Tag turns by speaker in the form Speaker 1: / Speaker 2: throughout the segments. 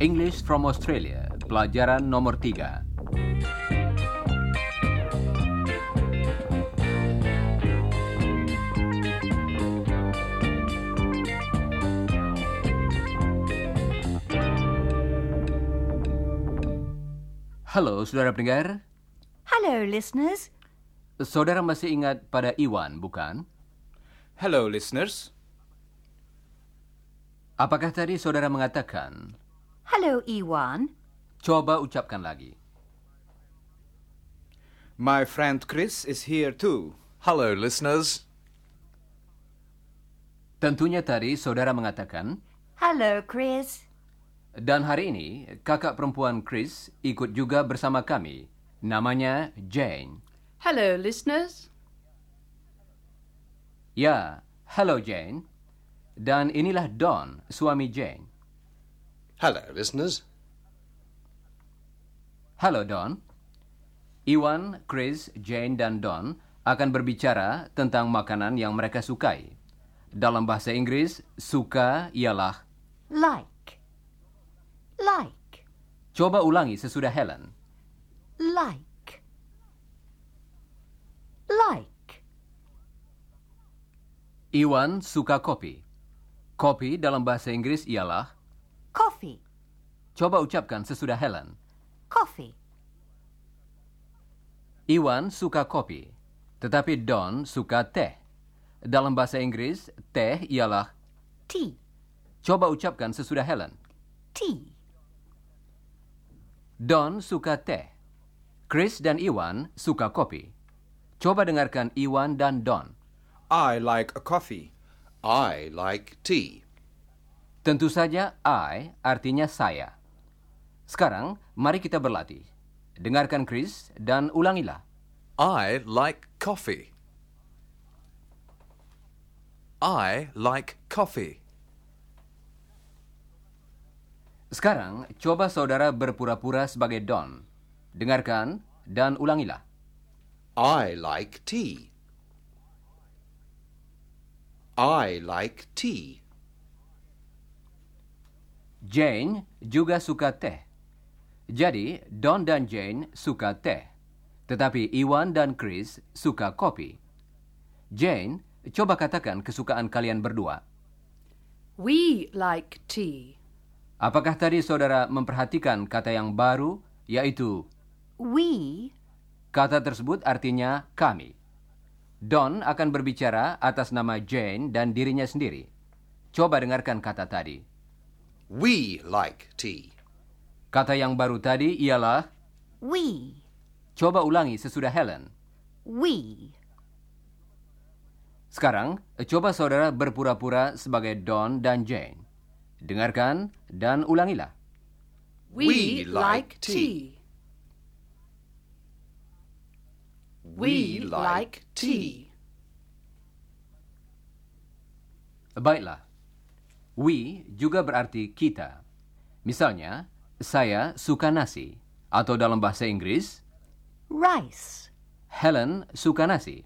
Speaker 1: English from Australia, pelajaran nomor 3. Halo, saudara pendengar.
Speaker 2: Hello, listeners.
Speaker 1: Saudara masih ingat pada Iwan, bukan?
Speaker 3: Hello, listeners.
Speaker 1: Apakah tadi saudara mengatakan,
Speaker 2: Hello, Iwan.
Speaker 1: coba ucapkan lagi.
Speaker 3: My friend Chris is here too.
Speaker 4: Hello, listeners.
Speaker 1: Tentunya tadi saudara mengatakan,
Speaker 2: Hello, Chris.
Speaker 1: dan hari ini kakak perempuan Chris ikut juga bersama kami. Namanya Jane.
Speaker 5: Hello, listeners.
Speaker 1: Ya, hello Jane. Dan inilah Don, suami Jane.
Speaker 4: Hello, listeners.
Speaker 1: Halo Don. Iwan, Chris, Jane, dan Don akan berbicara tentang makanan yang mereka sukai. Dalam bahasa Inggris, suka ialah
Speaker 2: Like. Like.
Speaker 1: coba ulangi sesudah Helen.
Speaker 2: Like. Like.
Speaker 1: Iwan suka kopi. Kopi dalam bahasa Inggris ialah
Speaker 2: Coffee.
Speaker 1: coba ucapkan sesudah Helen.
Speaker 2: Coffee.
Speaker 1: Iwan suka kopi, tetapi Don suka teh. Dalam bahasa Inggris, teh ialah
Speaker 2: Tea.
Speaker 1: coba ucapkan sesudah Helen.
Speaker 2: Tea.
Speaker 1: Don suka teh. Chris dan Iwan suka kopi. Coba dengarkan Iwan dan Don.
Speaker 3: I like a coffee.
Speaker 4: I like tea.
Speaker 1: Tentu saja I artinya saya. Sekarang mari kita berlatih. Dengarkan Chris dan ulangilah.
Speaker 4: I like coffee. I like coffee.
Speaker 1: Sekarang coba saudara berpura-pura sebagai Don. Dengarkan dan ulangilah.
Speaker 4: I like tea. I like tea.
Speaker 1: Jane juga suka teh. Jadi, Don dan Jane suka teh. Tetapi Iwan dan Chris suka kopi. Jane, coba katakan kesukaan kalian berdua.
Speaker 5: We like tea.
Speaker 1: Apakah tadi saudara memperhatikan kata yang baru, yaitu
Speaker 2: We.
Speaker 1: kata tersebut artinya kami. Don akan berbicara atas nama Jane dan dirinya sendiri. Coba dengarkan kata tadi.
Speaker 4: We like tea.
Speaker 1: Kata yang baru tadi ialah
Speaker 2: We.
Speaker 1: coba ulangi sesudah Helen.
Speaker 2: We.
Speaker 1: Sekarang, coba saudara berpura-pura sebagai Don dan Jane. Dengarkan dan ulangilah.
Speaker 5: We,
Speaker 4: We
Speaker 5: like,
Speaker 4: like
Speaker 5: tea.
Speaker 4: tea.
Speaker 5: We like tea.
Speaker 1: Baiklah. We juga berarti kita. Misalnya, saya suka nasi. Atau dalam bahasa Inggris,
Speaker 2: Rice.
Speaker 1: Helen suka nasi.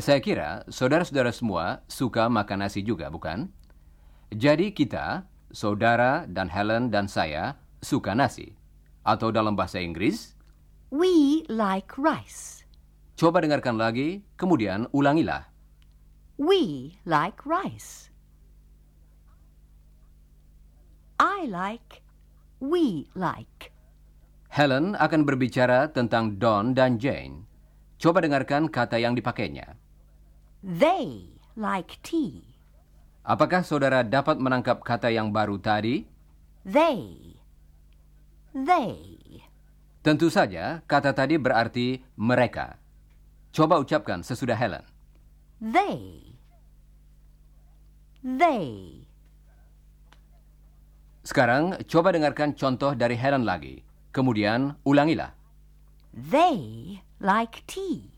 Speaker 1: Saya kira saudara-saudara semua suka makan nasi juga, bukan? Jadi kita, saudara dan Helen dan saya, suka nasi. Atau dalam bahasa Inggris,
Speaker 2: We like rice.
Speaker 1: Coba dengarkan lagi, kemudian ulangilah.
Speaker 2: We like rice. I like. We like.
Speaker 1: Helen akan berbicara tentang Don dan Jane. Coba dengarkan kata yang dipakainya.
Speaker 2: They like tea.
Speaker 1: Apakah saudara dapat menangkap kata yang baru tadi?
Speaker 2: They. They.
Speaker 1: Tentu saja, kata tadi berarti mereka. Coba ucapkan sesudah Helen.
Speaker 2: They. They.
Speaker 1: Sekarang, coba dengarkan contoh dari Helen lagi. Kemudian, ulangilah.
Speaker 2: They like tea.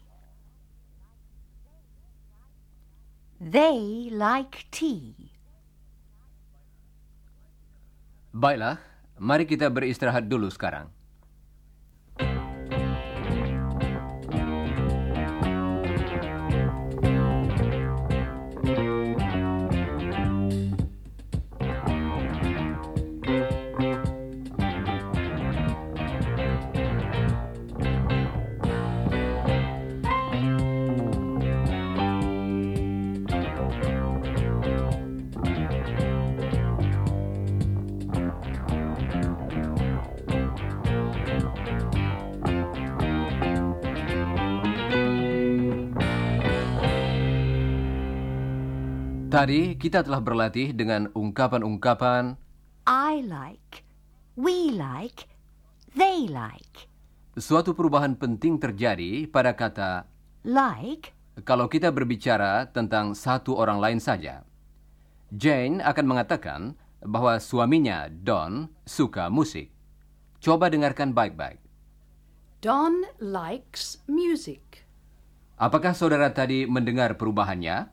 Speaker 2: They like tea.
Speaker 1: Baiklah, mari kita beristirahat dulu sekarang. Tadi kita telah berlatih dengan ungkapan-ungkapan
Speaker 2: I like, we like, they like.
Speaker 1: suatu perubahan penting terjadi pada kata
Speaker 2: Like,
Speaker 1: kalau kita berbicara tentang satu orang lain saja. Jane akan mengatakan bahwa suaminya, Don, suka musik. Coba dengarkan baik-baik.
Speaker 5: Don likes music.
Speaker 1: Apakah saudara tadi mendengar perubahannya?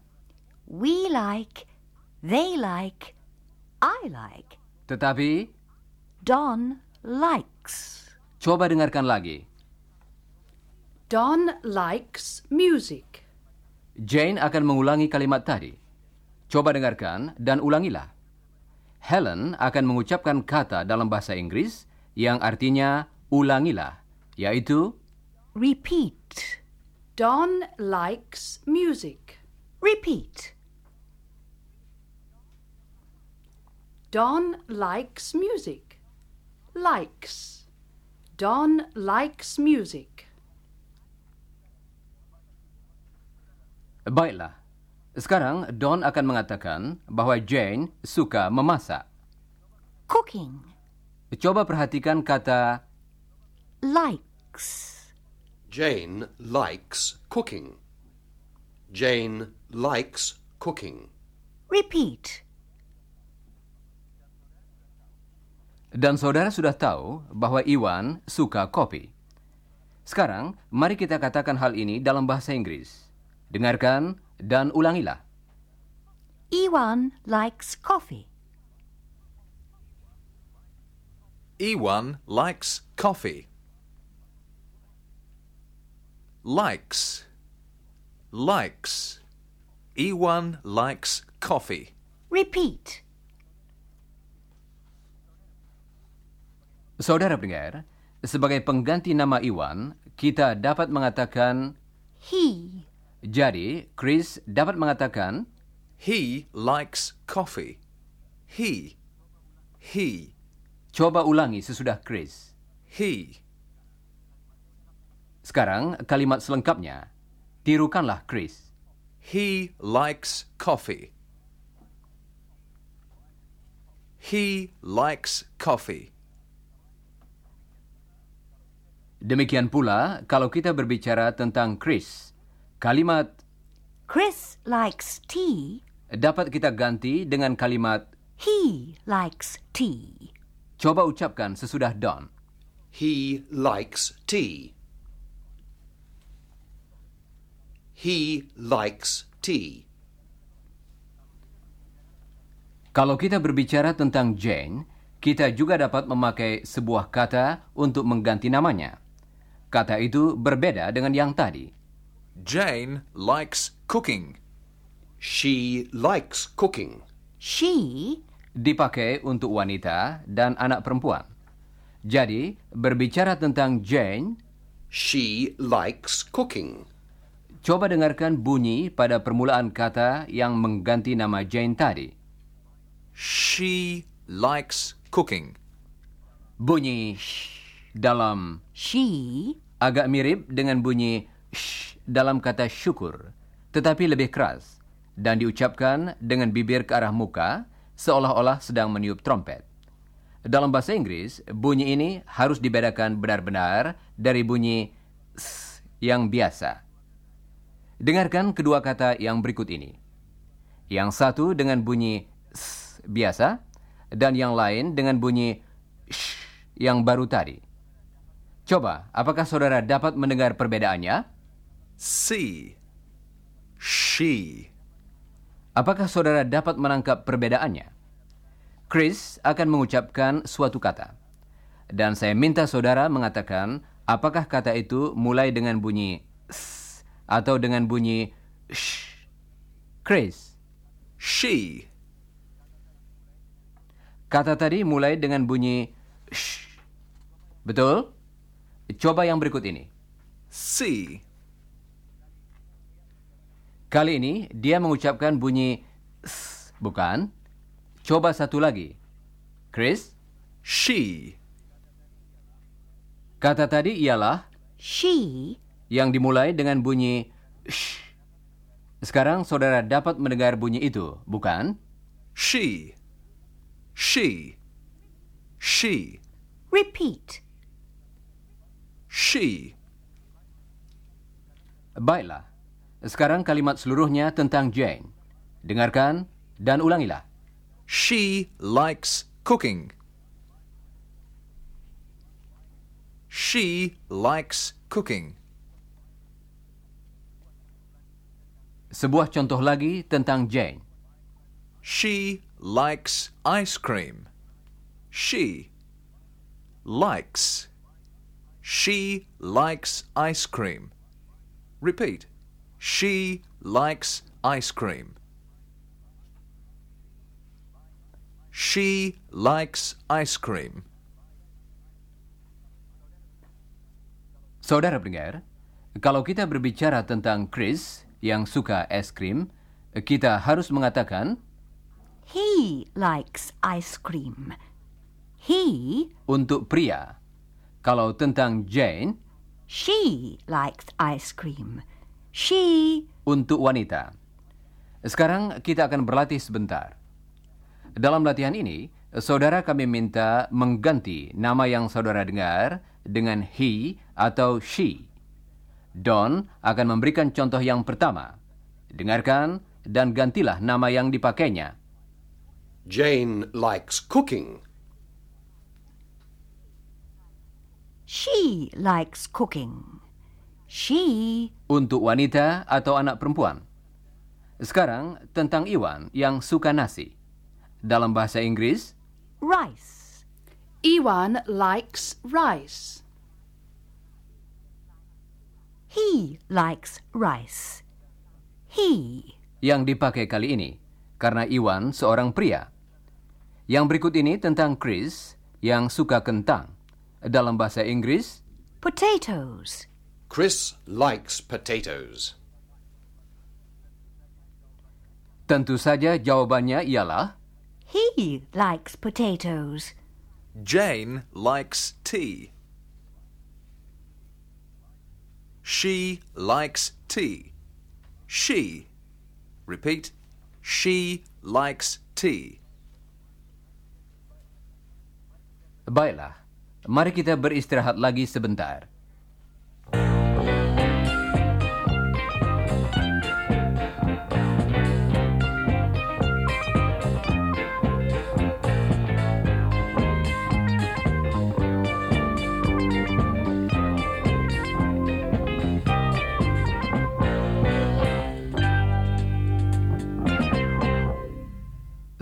Speaker 2: we like, they like, I like.
Speaker 1: Tetapi,
Speaker 2: Don likes.
Speaker 1: coba dengarkan lagi.
Speaker 5: Don likes music.
Speaker 1: Jane akan mengulangi kalimat tadi. Coba dengarkan dan ulangilah. Helen akan mengucapkan kata dalam bahasa Inggris yang artinya ulangilah, yaitu
Speaker 2: Repeat.
Speaker 5: Don likes music.
Speaker 2: Repeat.
Speaker 5: Don likes music. Likes. Don likes music.
Speaker 1: Baiklah. Sekarang Don akan mengatakan bahwa Jane suka memasak.
Speaker 2: Cooking.
Speaker 1: Coba perhatikan kata
Speaker 2: Likes.
Speaker 4: Jane likes cooking. Jane likes cooking.
Speaker 2: Repeat.
Speaker 1: dan saudara sudah tahu bahwa Iwan suka kopi. Sekarang, mari kita katakan hal ini dalam bahasa Inggris. Dengarkan dan ulangilah.
Speaker 2: Iwan likes coffee.
Speaker 6: Ewan likes coffee. Likes. Likes. Ewan likes coffee.
Speaker 2: Repeat.
Speaker 1: Saudara pendengar, sebagai pengganti nama Iwan, kita dapat mengatakan
Speaker 2: He
Speaker 1: jadi Chris dapat mengatakan
Speaker 6: He likes coffee. He. He.
Speaker 1: coba ulangi sesudah Chris.
Speaker 6: He.
Speaker 1: Sekarang kalimat selengkapnya. Tirukanlah Chris.
Speaker 6: He likes coffee. He likes coffee.
Speaker 1: Demikian pula kalau kita berbicara tentang Chris. Kalimat
Speaker 2: Chris likes tea.
Speaker 1: dapat kita ganti dengan kalimat
Speaker 2: He likes tea.
Speaker 1: coba ucapkan sesudah Don.
Speaker 4: He likes tea. He likes tea.
Speaker 1: Kalau kita berbicara tentang Jane, kita juga dapat memakai sebuah kata untuk mengganti namanya. Kata itu berbeda dengan yang tadi.
Speaker 6: Jane likes cooking.
Speaker 4: She likes cooking.
Speaker 2: She
Speaker 1: Dipakai untuk wanita dan anak perempuan. Jadi, berbicara tentang Jane,
Speaker 4: She likes cooking.
Speaker 1: coba dengarkan bunyi pada permulaan kata yang mengganti nama Jane tadi.
Speaker 6: She likes cooking.
Speaker 1: Bunyi sh dalam
Speaker 2: she
Speaker 1: agak mirip dengan bunyi sh dalam kata syukur, tetapi lebih keras dan diucapkan dengan bibir ke arah muka seolah-olah sedang meniup trompet. Dalam bahasa Inggris, bunyi ini harus dibedakan benar-benar dari bunyi s yang biasa. Dengarkan kedua kata yang berikut ini. Yang satu dengan bunyi s biasa dan yang lain dengan bunyi sh yang baru tadi. Coba, apakah saudara dapat mendengar perbedaannya?
Speaker 6: See. She.
Speaker 1: Apakah saudara dapat menangkap perbedaannya? Chris akan mengucapkan suatu kata. Dan saya minta saudara mengatakan apakah kata itu mulai dengan bunyi s atau dengan bunyi sh. Chris,
Speaker 6: She.
Speaker 1: kata tadi mulai dengan bunyi sh. Betul? Coba yang berikut ini.
Speaker 6: See.
Speaker 1: Kali ini dia mengucapkan bunyi s, bukan? Coba satu lagi. Chris,
Speaker 6: She.
Speaker 1: kata tadi ialah
Speaker 2: she
Speaker 1: yang dimulai dengan bunyi sh. Sekarang saudara dapat mendengar bunyi itu, bukan?
Speaker 6: She. She. She.
Speaker 2: Repeat.
Speaker 6: She.
Speaker 1: Baiklah. Sekarang kalimat seluruhnya tentang Jane. Dengarkan dan ulangilah.
Speaker 6: She likes cooking. She likes cooking.
Speaker 1: Sebuah contoh lagi tentang Jane.
Speaker 6: She likes ice cream. She likes. She likes ice cream. Repeat. She likes ice cream. She likes ice cream.
Speaker 1: Saudara pendengar, kalau kita berbicara tentang Chris yang suka es krim, kita harus mengatakan
Speaker 2: He likes ice cream. He,
Speaker 1: untuk pria. Kalau tentang Jane,
Speaker 2: she likes ice cream. She,
Speaker 1: untuk wanita. Sekarang kita akan berlatih sebentar. Dalam latihan ini, saudara kami minta mengganti nama yang saudara dengar dengan he atau she. Don akan memberikan contoh yang pertama. Dengarkan dan gantilah nama yang dipakainya.
Speaker 4: Jane likes cooking.
Speaker 2: she likes cooking. She,
Speaker 1: Untuk wanita atau anak perempuan. Sekarang tentang Iwan yang suka nasi. Dalam bahasa Inggris,
Speaker 2: rice.
Speaker 5: Iwan likes rice.
Speaker 2: He likes rice. He,
Speaker 1: yang dipakai kali ini karena Iwan seorang pria. Yang berikut ini tentang Chris yang suka kentang. Dalam bahasa Inggris,
Speaker 2: potatoes.
Speaker 4: Chris likes potatoes.
Speaker 1: tentu saja jawabannya ialah
Speaker 2: He likes potatoes.
Speaker 6: Jane likes tea. She likes tea. She. Repeat. She likes tea.
Speaker 1: baiklah. Mari kita beristirahat lagi sebentar.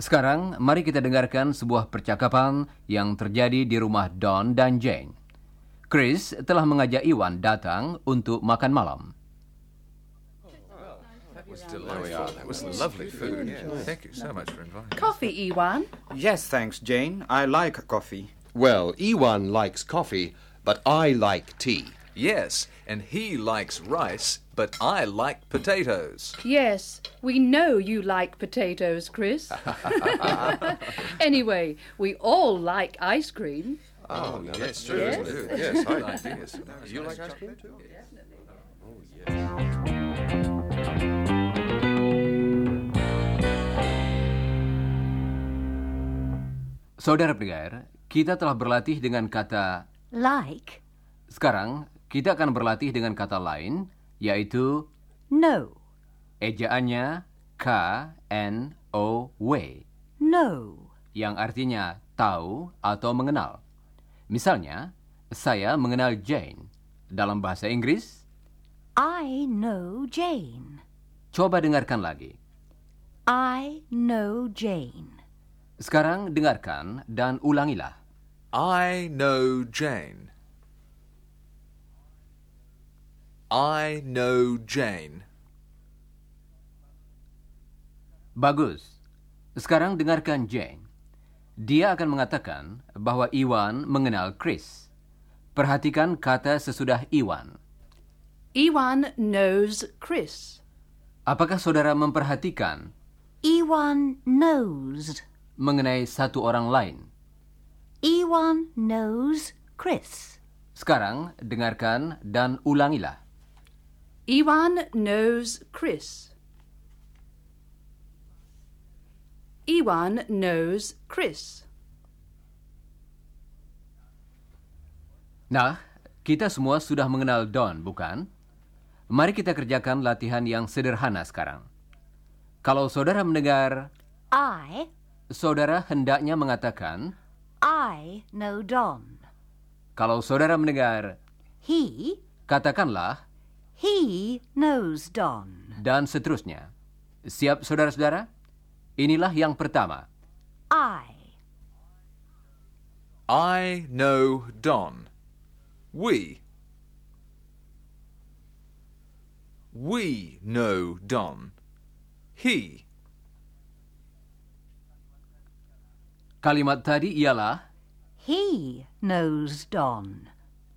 Speaker 1: Sekarang, mari kita dengarkan sebuah percakapan yang terjadi di rumah Don dan Jane. Chris telah mengajak Iwan datang untuk makan malam.
Speaker 6: Thank you so much for inviting.
Speaker 5: Coffee, Iwan.
Speaker 3: Yes, thanks, Jane. I like coffee.
Speaker 4: Well, Ewan likes coffee, but I like tea.
Speaker 6: Yes, and he likes rice, but I like potatoes.
Speaker 5: Yes, we know you like potatoes, Chris. anyway, we all like ice cream.
Speaker 6: Yes, true,
Speaker 5: isn't
Speaker 6: it? Yes, I like this. You like ice cream too?
Speaker 1: Saudara pendengar, kita telah berlatih dengan kata
Speaker 2: Like,
Speaker 1: sekarang, kita akan berlatih dengan kata lain, yaitu
Speaker 2: no,
Speaker 1: ejaannya K N O W
Speaker 2: no.
Speaker 1: yang artinya tahu atau mengenal. Misalnya, saya mengenal Jane. Dalam bahasa Inggris,
Speaker 2: I know Jane.
Speaker 1: coba dengarkan lagi.
Speaker 2: I know Jane.
Speaker 1: Sekarang dengarkan dan ulangilah.
Speaker 6: I know Jane. I know Jane.
Speaker 1: Bagus. Sekarang dengarkan Jane. Dia akan mengatakan bahwa Iwan mengenal Chris. Perhatikan kata sesudah Iwan.
Speaker 5: Iwan knows Chris.
Speaker 1: Apakah saudara memperhatikan
Speaker 2: Ewan knows.
Speaker 1: mengenai satu orang lain?
Speaker 2: Ewan knows Chris.
Speaker 1: Sekarang dengarkan dan ulangilah.
Speaker 5: Iwan knows Chris. Ewan knows Chris.
Speaker 1: Nah, kita semua sudah mengenal Don, bukan? Mari kita kerjakan latihan yang sederhana sekarang. Kalau saudara mendengar,
Speaker 2: I,
Speaker 1: saudara hendaknya mengatakan,
Speaker 2: I know Don.
Speaker 1: kalau saudara mendengar,
Speaker 2: He,
Speaker 1: katakanlah,
Speaker 2: he knows Don.
Speaker 1: dan seterusnya. Siap, saudara-saudara? Inilah yang pertama.
Speaker 2: I,
Speaker 6: I know Don. We. We know Don. He.
Speaker 1: Kalimat tadi ialah,
Speaker 2: he knows Don.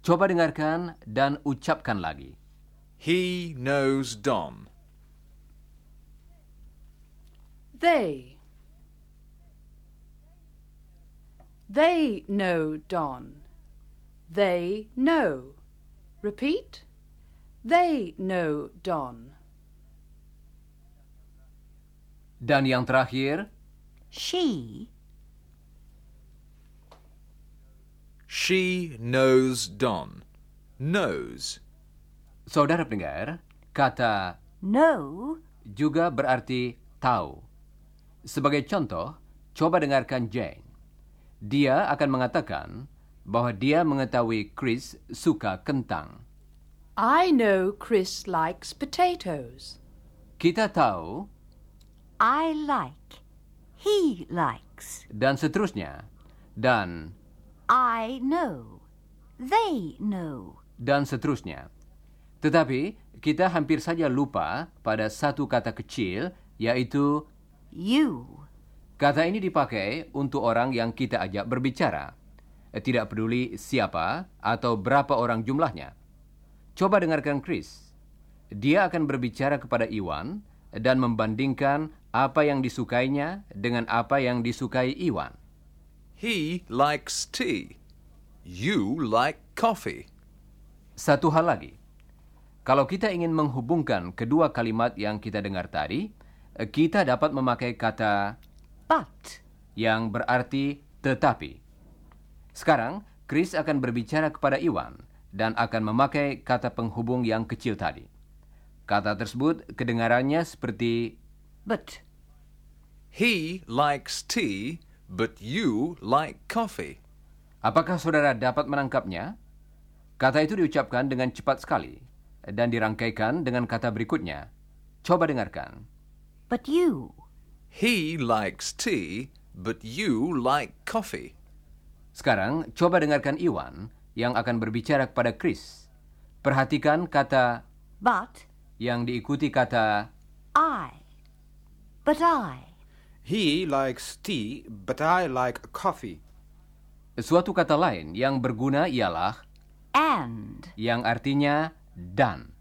Speaker 1: coba dengarkan dan ucapkan lagi.
Speaker 6: He knows Don.
Speaker 5: They. They know Don. They know. Repeat. They know Don.
Speaker 1: Dan yang terakhir,
Speaker 2: She,
Speaker 6: She knows Don. Knows.
Speaker 1: saudara pendengar, kata
Speaker 2: know,
Speaker 1: juga berarti tahu. Sebagai contoh, coba dengarkan Jane. Dia akan mengatakan bahwa dia mengetahui Chris suka kentang.
Speaker 5: I know Chris likes potatoes.
Speaker 1: Kita tahu
Speaker 2: I like, he likes.
Speaker 1: dan seterusnya. Dan
Speaker 2: I know, they know.
Speaker 1: dan seterusnya. Tetapi kita hampir saja lupa pada satu kata kecil yaitu
Speaker 2: You,
Speaker 1: kata ini dipakai untuk orang yang kita ajak berbicara. Eh, Tidak peduli siapa atau berapa orang jumlahnya. Coba dengarkan Chris. Dia akan berbicara kepada Iwan dan membandingkan apa yang disukainya dengan apa yang disukai Iwan.
Speaker 6: He likes tea. You like coffee.
Speaker 1: Satu hal lagi, kalau kita ingin menghubungkan kedua kalimat yang kita dengar tadi, eh, kita dapat memakai kata
Speaker 2: but,
Speaker 1: yang berarti tetapi. Sekarang, Chris akan berbicara kepada Iwan dan akan memakai kata penghubung yang kecil tadi. Kata tersebut kedengarannya seperti
Speaker 2: but,
Speaker 6: He likes tea, but you like coffee.
Speaker 1: apakah saudara dapat menangkapnya? Kata itu diucapkan dengan cepat sekali dan dirangkaikan dengan kata berikutnya. Coba dengarkan.
Speaker 2: but you,
Speaker 6: He likes tea, but you like coffee.
Speaker 1: Sekarang, coba dengarkan Iwan yang akan berbicara kepada Chris. Perhatikan kata
Speaker 2: but,
Speaker 1: yang diikuti kata
Speaker 2: I, but I,
Speaker 3: He likes tea, but I like coffee.
Speaker 1: Suatu kata lain yang berguna ialah
Speaker 2: and,
Speaker 1: yang artinya dan.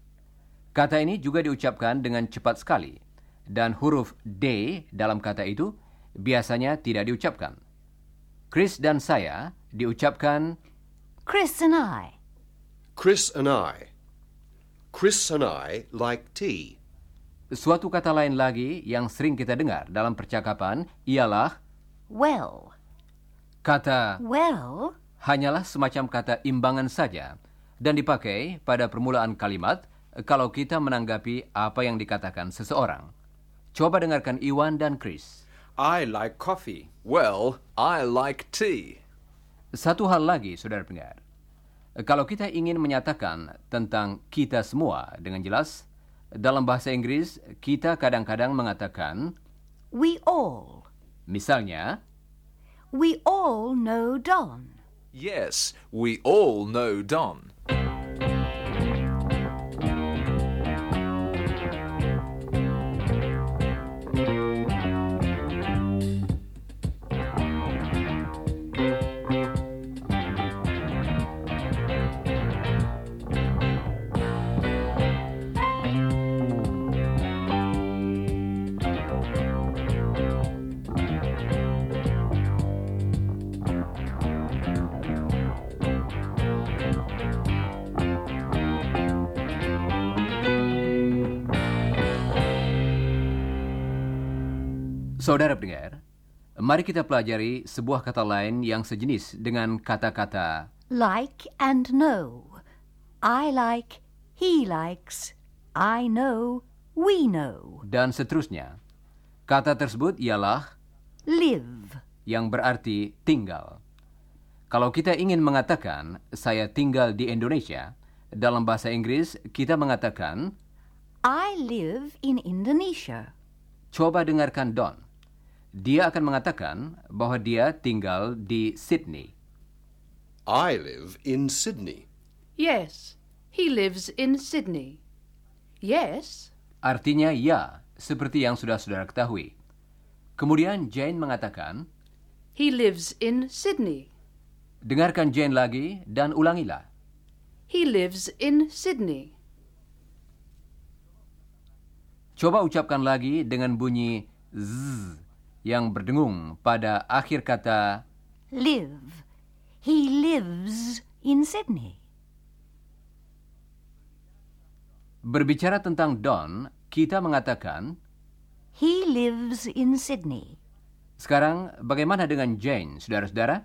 Speaker 1: Kata ini juga diucapkan dengan cepat sekali dan huruf D dalam kata itu biasanya tidak diucapkan. Chris dan saya diucapkan
Speaker 2: Chris and I,
Speaker 4: Chris and I. Chris and I like tea.
Speaker 1: suatu kata lain lagi yang sering kita dengar dalam percakapan ialah
Speaker 2: well,
Speaker 1: kata
Speaker 2: well,
Speaker 1: hanyalah semacam kata imbangan saja dan dipakai pada permulaan kalimat kalau kita menanggapi apa yang dikatakan seseorang. Coba dengarkan Iwan dan Chris.
Speaker 3: I like coffee.
Speaker 6: Well, I like tea.
Speaker 1: Satu hal lagi, saudara pendengar. Kalau kita ingin menyatakan tentang kita semua dengan jelas, dalam bahasa Inggris kita kadang-kadang mengatakan,
Speaker 2: we all,
Speaker 1: misalnya,
Speaker 2: we all know Don.
Speaker 6: Yes, we all know Don.
Speaker 1: saudara pendengar, Mari kita pelajari sebuah kata lain yang sejenis dengan kata-kata
Speaker 2: Like and know. I like, he likes, I know, we know.
Speaker 1: dan seterusnya. Kata tersebut ialah
Speaker 2: Live.
Speaker 1: yang berarti tinggal. Kalau kita ingin mengatakan saya tinggal di Indonesia, dalam bahasa Inggris kita mengatakan
Speaker 2: I live in Indonesia.
Speaker 1: coba dengarkan Don. Dia akan mengatakan bahwa dia tinggal di Sydney.
Speaker 4: I live in Sydney.
Speaker 5: Yes, he lives in Sydney. Yes,
Speaker 1: Artinya ya, seperti yang sudah saudara ketahui. Kemudian Jane mengatakan,
Speaker 5: he lives in Sydney.
Speaker 1: dengarkan Jane lagi dan ulangilah.
Speaker 5: He lives in Sydney.
Speaker 1: Coba ucapkan lagi dengan bunyi z yang berdengung pada akhir kata
Speaker 2: Live. He lives in Sydney.
Speaker 1: berbicara tentang Don, kita mengatakan,
Speaker 2: He lives in Sydney.
Speaker 1: sekarang bagaimana dengan Jane, saudara-saudara?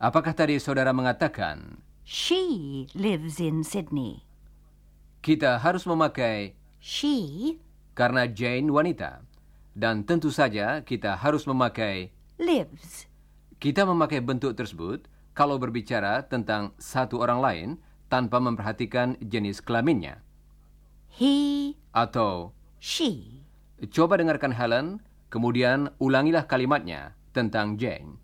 Speaker 1: Apakah tadi saudara mengatakan
Speaker 2: She lives in Sydney.
Speaker 1: kita harus memakai
Speaker 2: She
Speaker 1: karena Jane wanita? Dan tentu saja kita harus memakai
Speaker 2: lives.
Speaker 1: Kita memakai bentuk tersebut kalau berbicara tentang satu orang lain tanpa memperhatikan jenis kelaminnya.
Speaker 2: He,
Speaker 1: Atau,
Speaker 2: she.
Speaker 1: coba dengarkan Helen, kemudian ulangilah kalimatnya tentang Jane.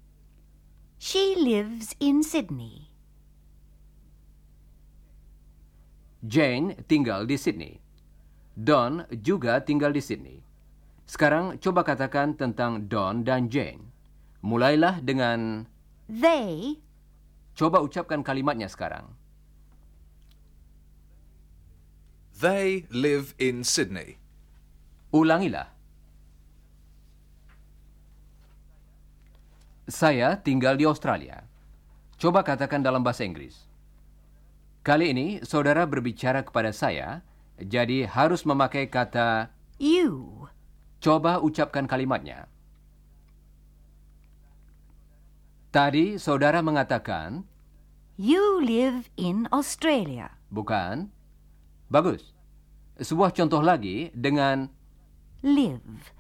Speaker 2: She lives in Sydney.
Speaker 1: Jane tinggal di Sydney. Don juga tinggal di Sydney. Sekarang coba katakan tentang Don dan Jane. Mulailah dengan,
Speaker 2: They,
Speaker 1: coba ucapkan kalimatnya sekarang.
Speaker 6: They live in Sydney.
Speaker 1: Ulangilah. Saya tinggal di Australia. Coba katakan dalam bahasa Inggris. Kali ini saudara berbicara kepada saya, jadi harus memakai kata
Speaker 2: you.
Speaker 1: coba ucapkan kalimatnya. Tadi saudara mengatakan,
Speaker 2: You live in Australia.
Speaker 1: bukan? Bagus. Sebuah contoh lagi dengan
Speaker 2: Live.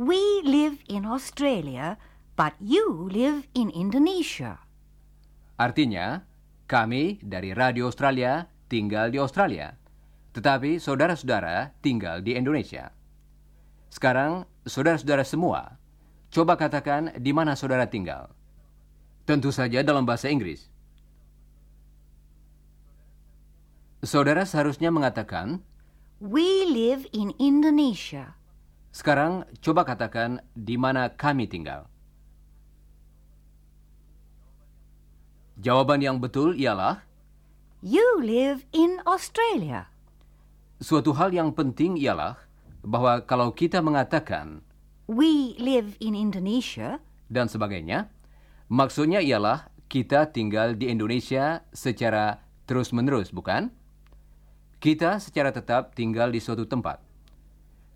Speaker 2: We live in Australia, but you live in Indonesia.
Speaker 1: Artinya, kami dari Radio Australia tinggal di Australia, tetapi saudara-saudara tinggal di Indonesia. Sekarang, saudara-saudara semua, coba katakan di mana saudara tinggal. Tentu saja dalam bahasa Inggris. Saudara seharusnya mengatakan,
Speaker 2: We live in Indonesia.
Speaker 1: sekarang coba katakan di mana kami tinggal. Jawaban yang betul ialah
Speaker 2: You live in Australia.
Speaker 1: Suatu hal yang penting ialah bahwa kalau kita mengatakan
Speaker 2: We live in Indonesia.
Speaker 1: dan sebagainya, maksudnya ialah kita tinggal di Indonesia secara terus-menerus, bukan? Kita secara tetap tinggal di suatu tempat.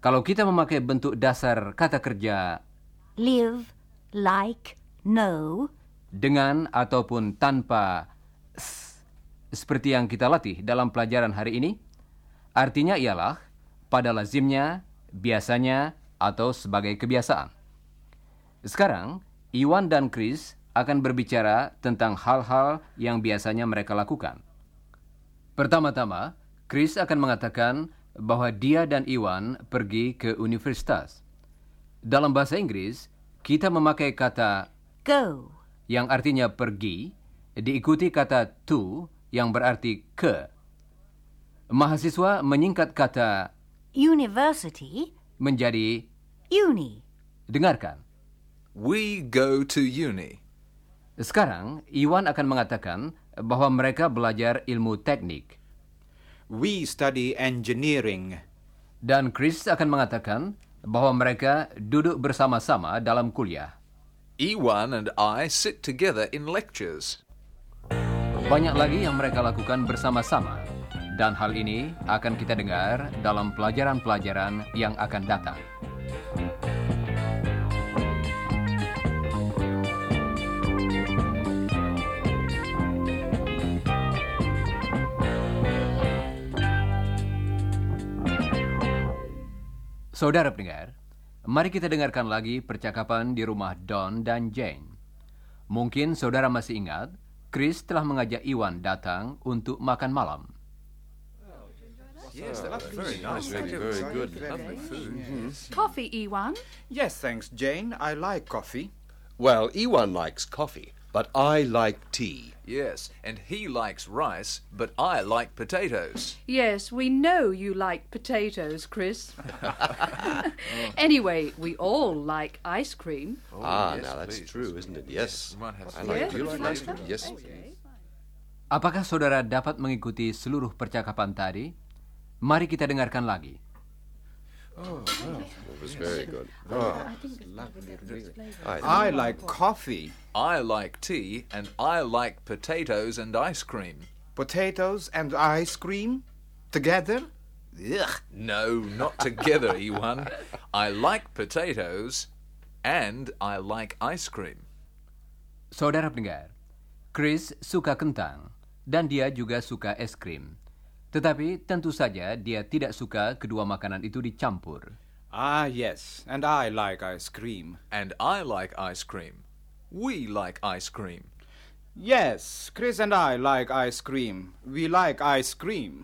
Speaker 1: Kalau kita memakai bentuk dasar kata kerja
Speaker 2: Live, like, know.
Speaker 1: dengan ataupun tanpa s, seperti yang kita latih dalam pelajaran hari ini, artinya ialah pada lazimnya, biasanya, atau sebagai kebiasaan. Sekarang, Iwan dan Chris akan berbicara tentang hal-hal yang biasanya mereka lakukan. Pertama-tama, Chris akan mengatakan bahwa dia dan Iwan pergi ke universitas. Dalam bahasa Inggris, kita memakai kata
Speaker 2: Go.
Speaker 1: yang artinya pergi, diikuti kata to yang berarti ke. Mahasiswa menyingkat kata
Speaker 2: University.
Speaker 1: menjadi
Speaker 2: Uni.
Speaker 1: dengarkan.
Speaker 6: We go to uni.
Speaker 1: Sekarang, Iwan akan mengatakan bahwa mereka belajar ilmu teknik.
Speaker 3: We study engineering.
Speaker 1: Dan Chris akan mengatakan bahwa mereka duduk bersama-sama dalam kuliah.
Speaker 6: Ewan and I sit together in lectures.
Speaker 1: Banyak lagi yang mereka lakukan bersama-sama. Dan hal ini akan kita dengar dalam pelajaran-pelajaran yang akan datang. Saudara pendengar, mari kita dengarkan lagi percakapan di rumah Don dan Jane. Mungkin saudara masih ingat, Chris telah mengajak Iwan datang untuk makan malam.
Speaker 6: Yes, that was very nice. Thank you.
Speaker 4: Very good.
Speaker 6: Lovely food.
Speaker 5: Coffee, E Ewan.
Speaker 3: Yes, thanks, Jane. I like coffee.
Speaker 4: Well, Ewan likes coffee, but I like tea.
Speaker 6: Yes, and he likes rice, but I like potatoes.
Speaker 5: Yes, we know you like potatoes, Chris. anyway, we all like ice cream.
Speaker 4: ah,
Speaker 6: yes,
Speaker 4: now that's
Speaker 6: please.
Speaker 4: true, isn't it? Yes.
Speaker 6: One has
Speaker 4: I
Speaker 6: to-
Speaker 4: like.
Speaker 5: Yes,
Speaker 4: Do you
Speaker 5: would you
Speaker 4: like ice
Speaker 5: like
Speaker 4: cream? Yes.
Speaker 1: Apakah saudara dapat mengikuti seluruh percakapan tadi? Mari kita dengarkan lagi.
Speaker 4: It was very good. Oh, I
Speaker 3: I like coffee,
Speaker 6: I like tea, and I like potatoes and ice cream.
Speaker 3: potatoes, and ice cream together. Ugh.
Speaker 6: No, not together, Ewan. I like potatoes, and I like ice cream.
Speaker 1: Saudara pendengar, Chris suka kentang dan dia juga suka es krim. Tetapi tentu saja dia tidak suka kedua makanan itu dicampur.
Speaker 3: Ah, yes, and I like ice cream.
Speaker 6: And I like ice cream. We like ice cream.
Speaker 3: Yes, Chris and I like ice cream. We like ice cream.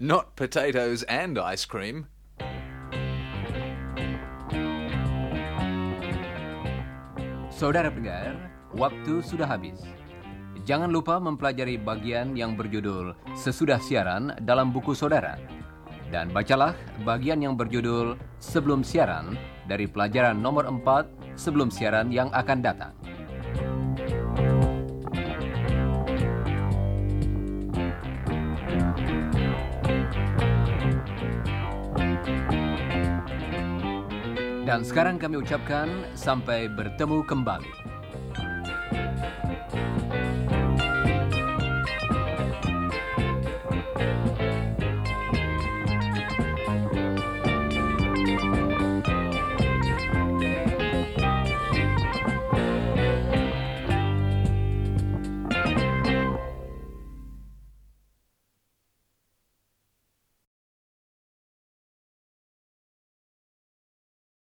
Speaker 6: Not potatoes and ice cream.
Speaker 1: Saudara pendengar, waktu sudah habis. Jangan lupa mempelajari bagian yang berjudul Sesudah Siaran dalam buku saudara. Dan bacalah bagian yang berjudul Sebelum Siaran dari pelajaran nomor 4 sebelum siaran yang akan datang. Dan sekarang kami ucapkan sampai bertemu kembali.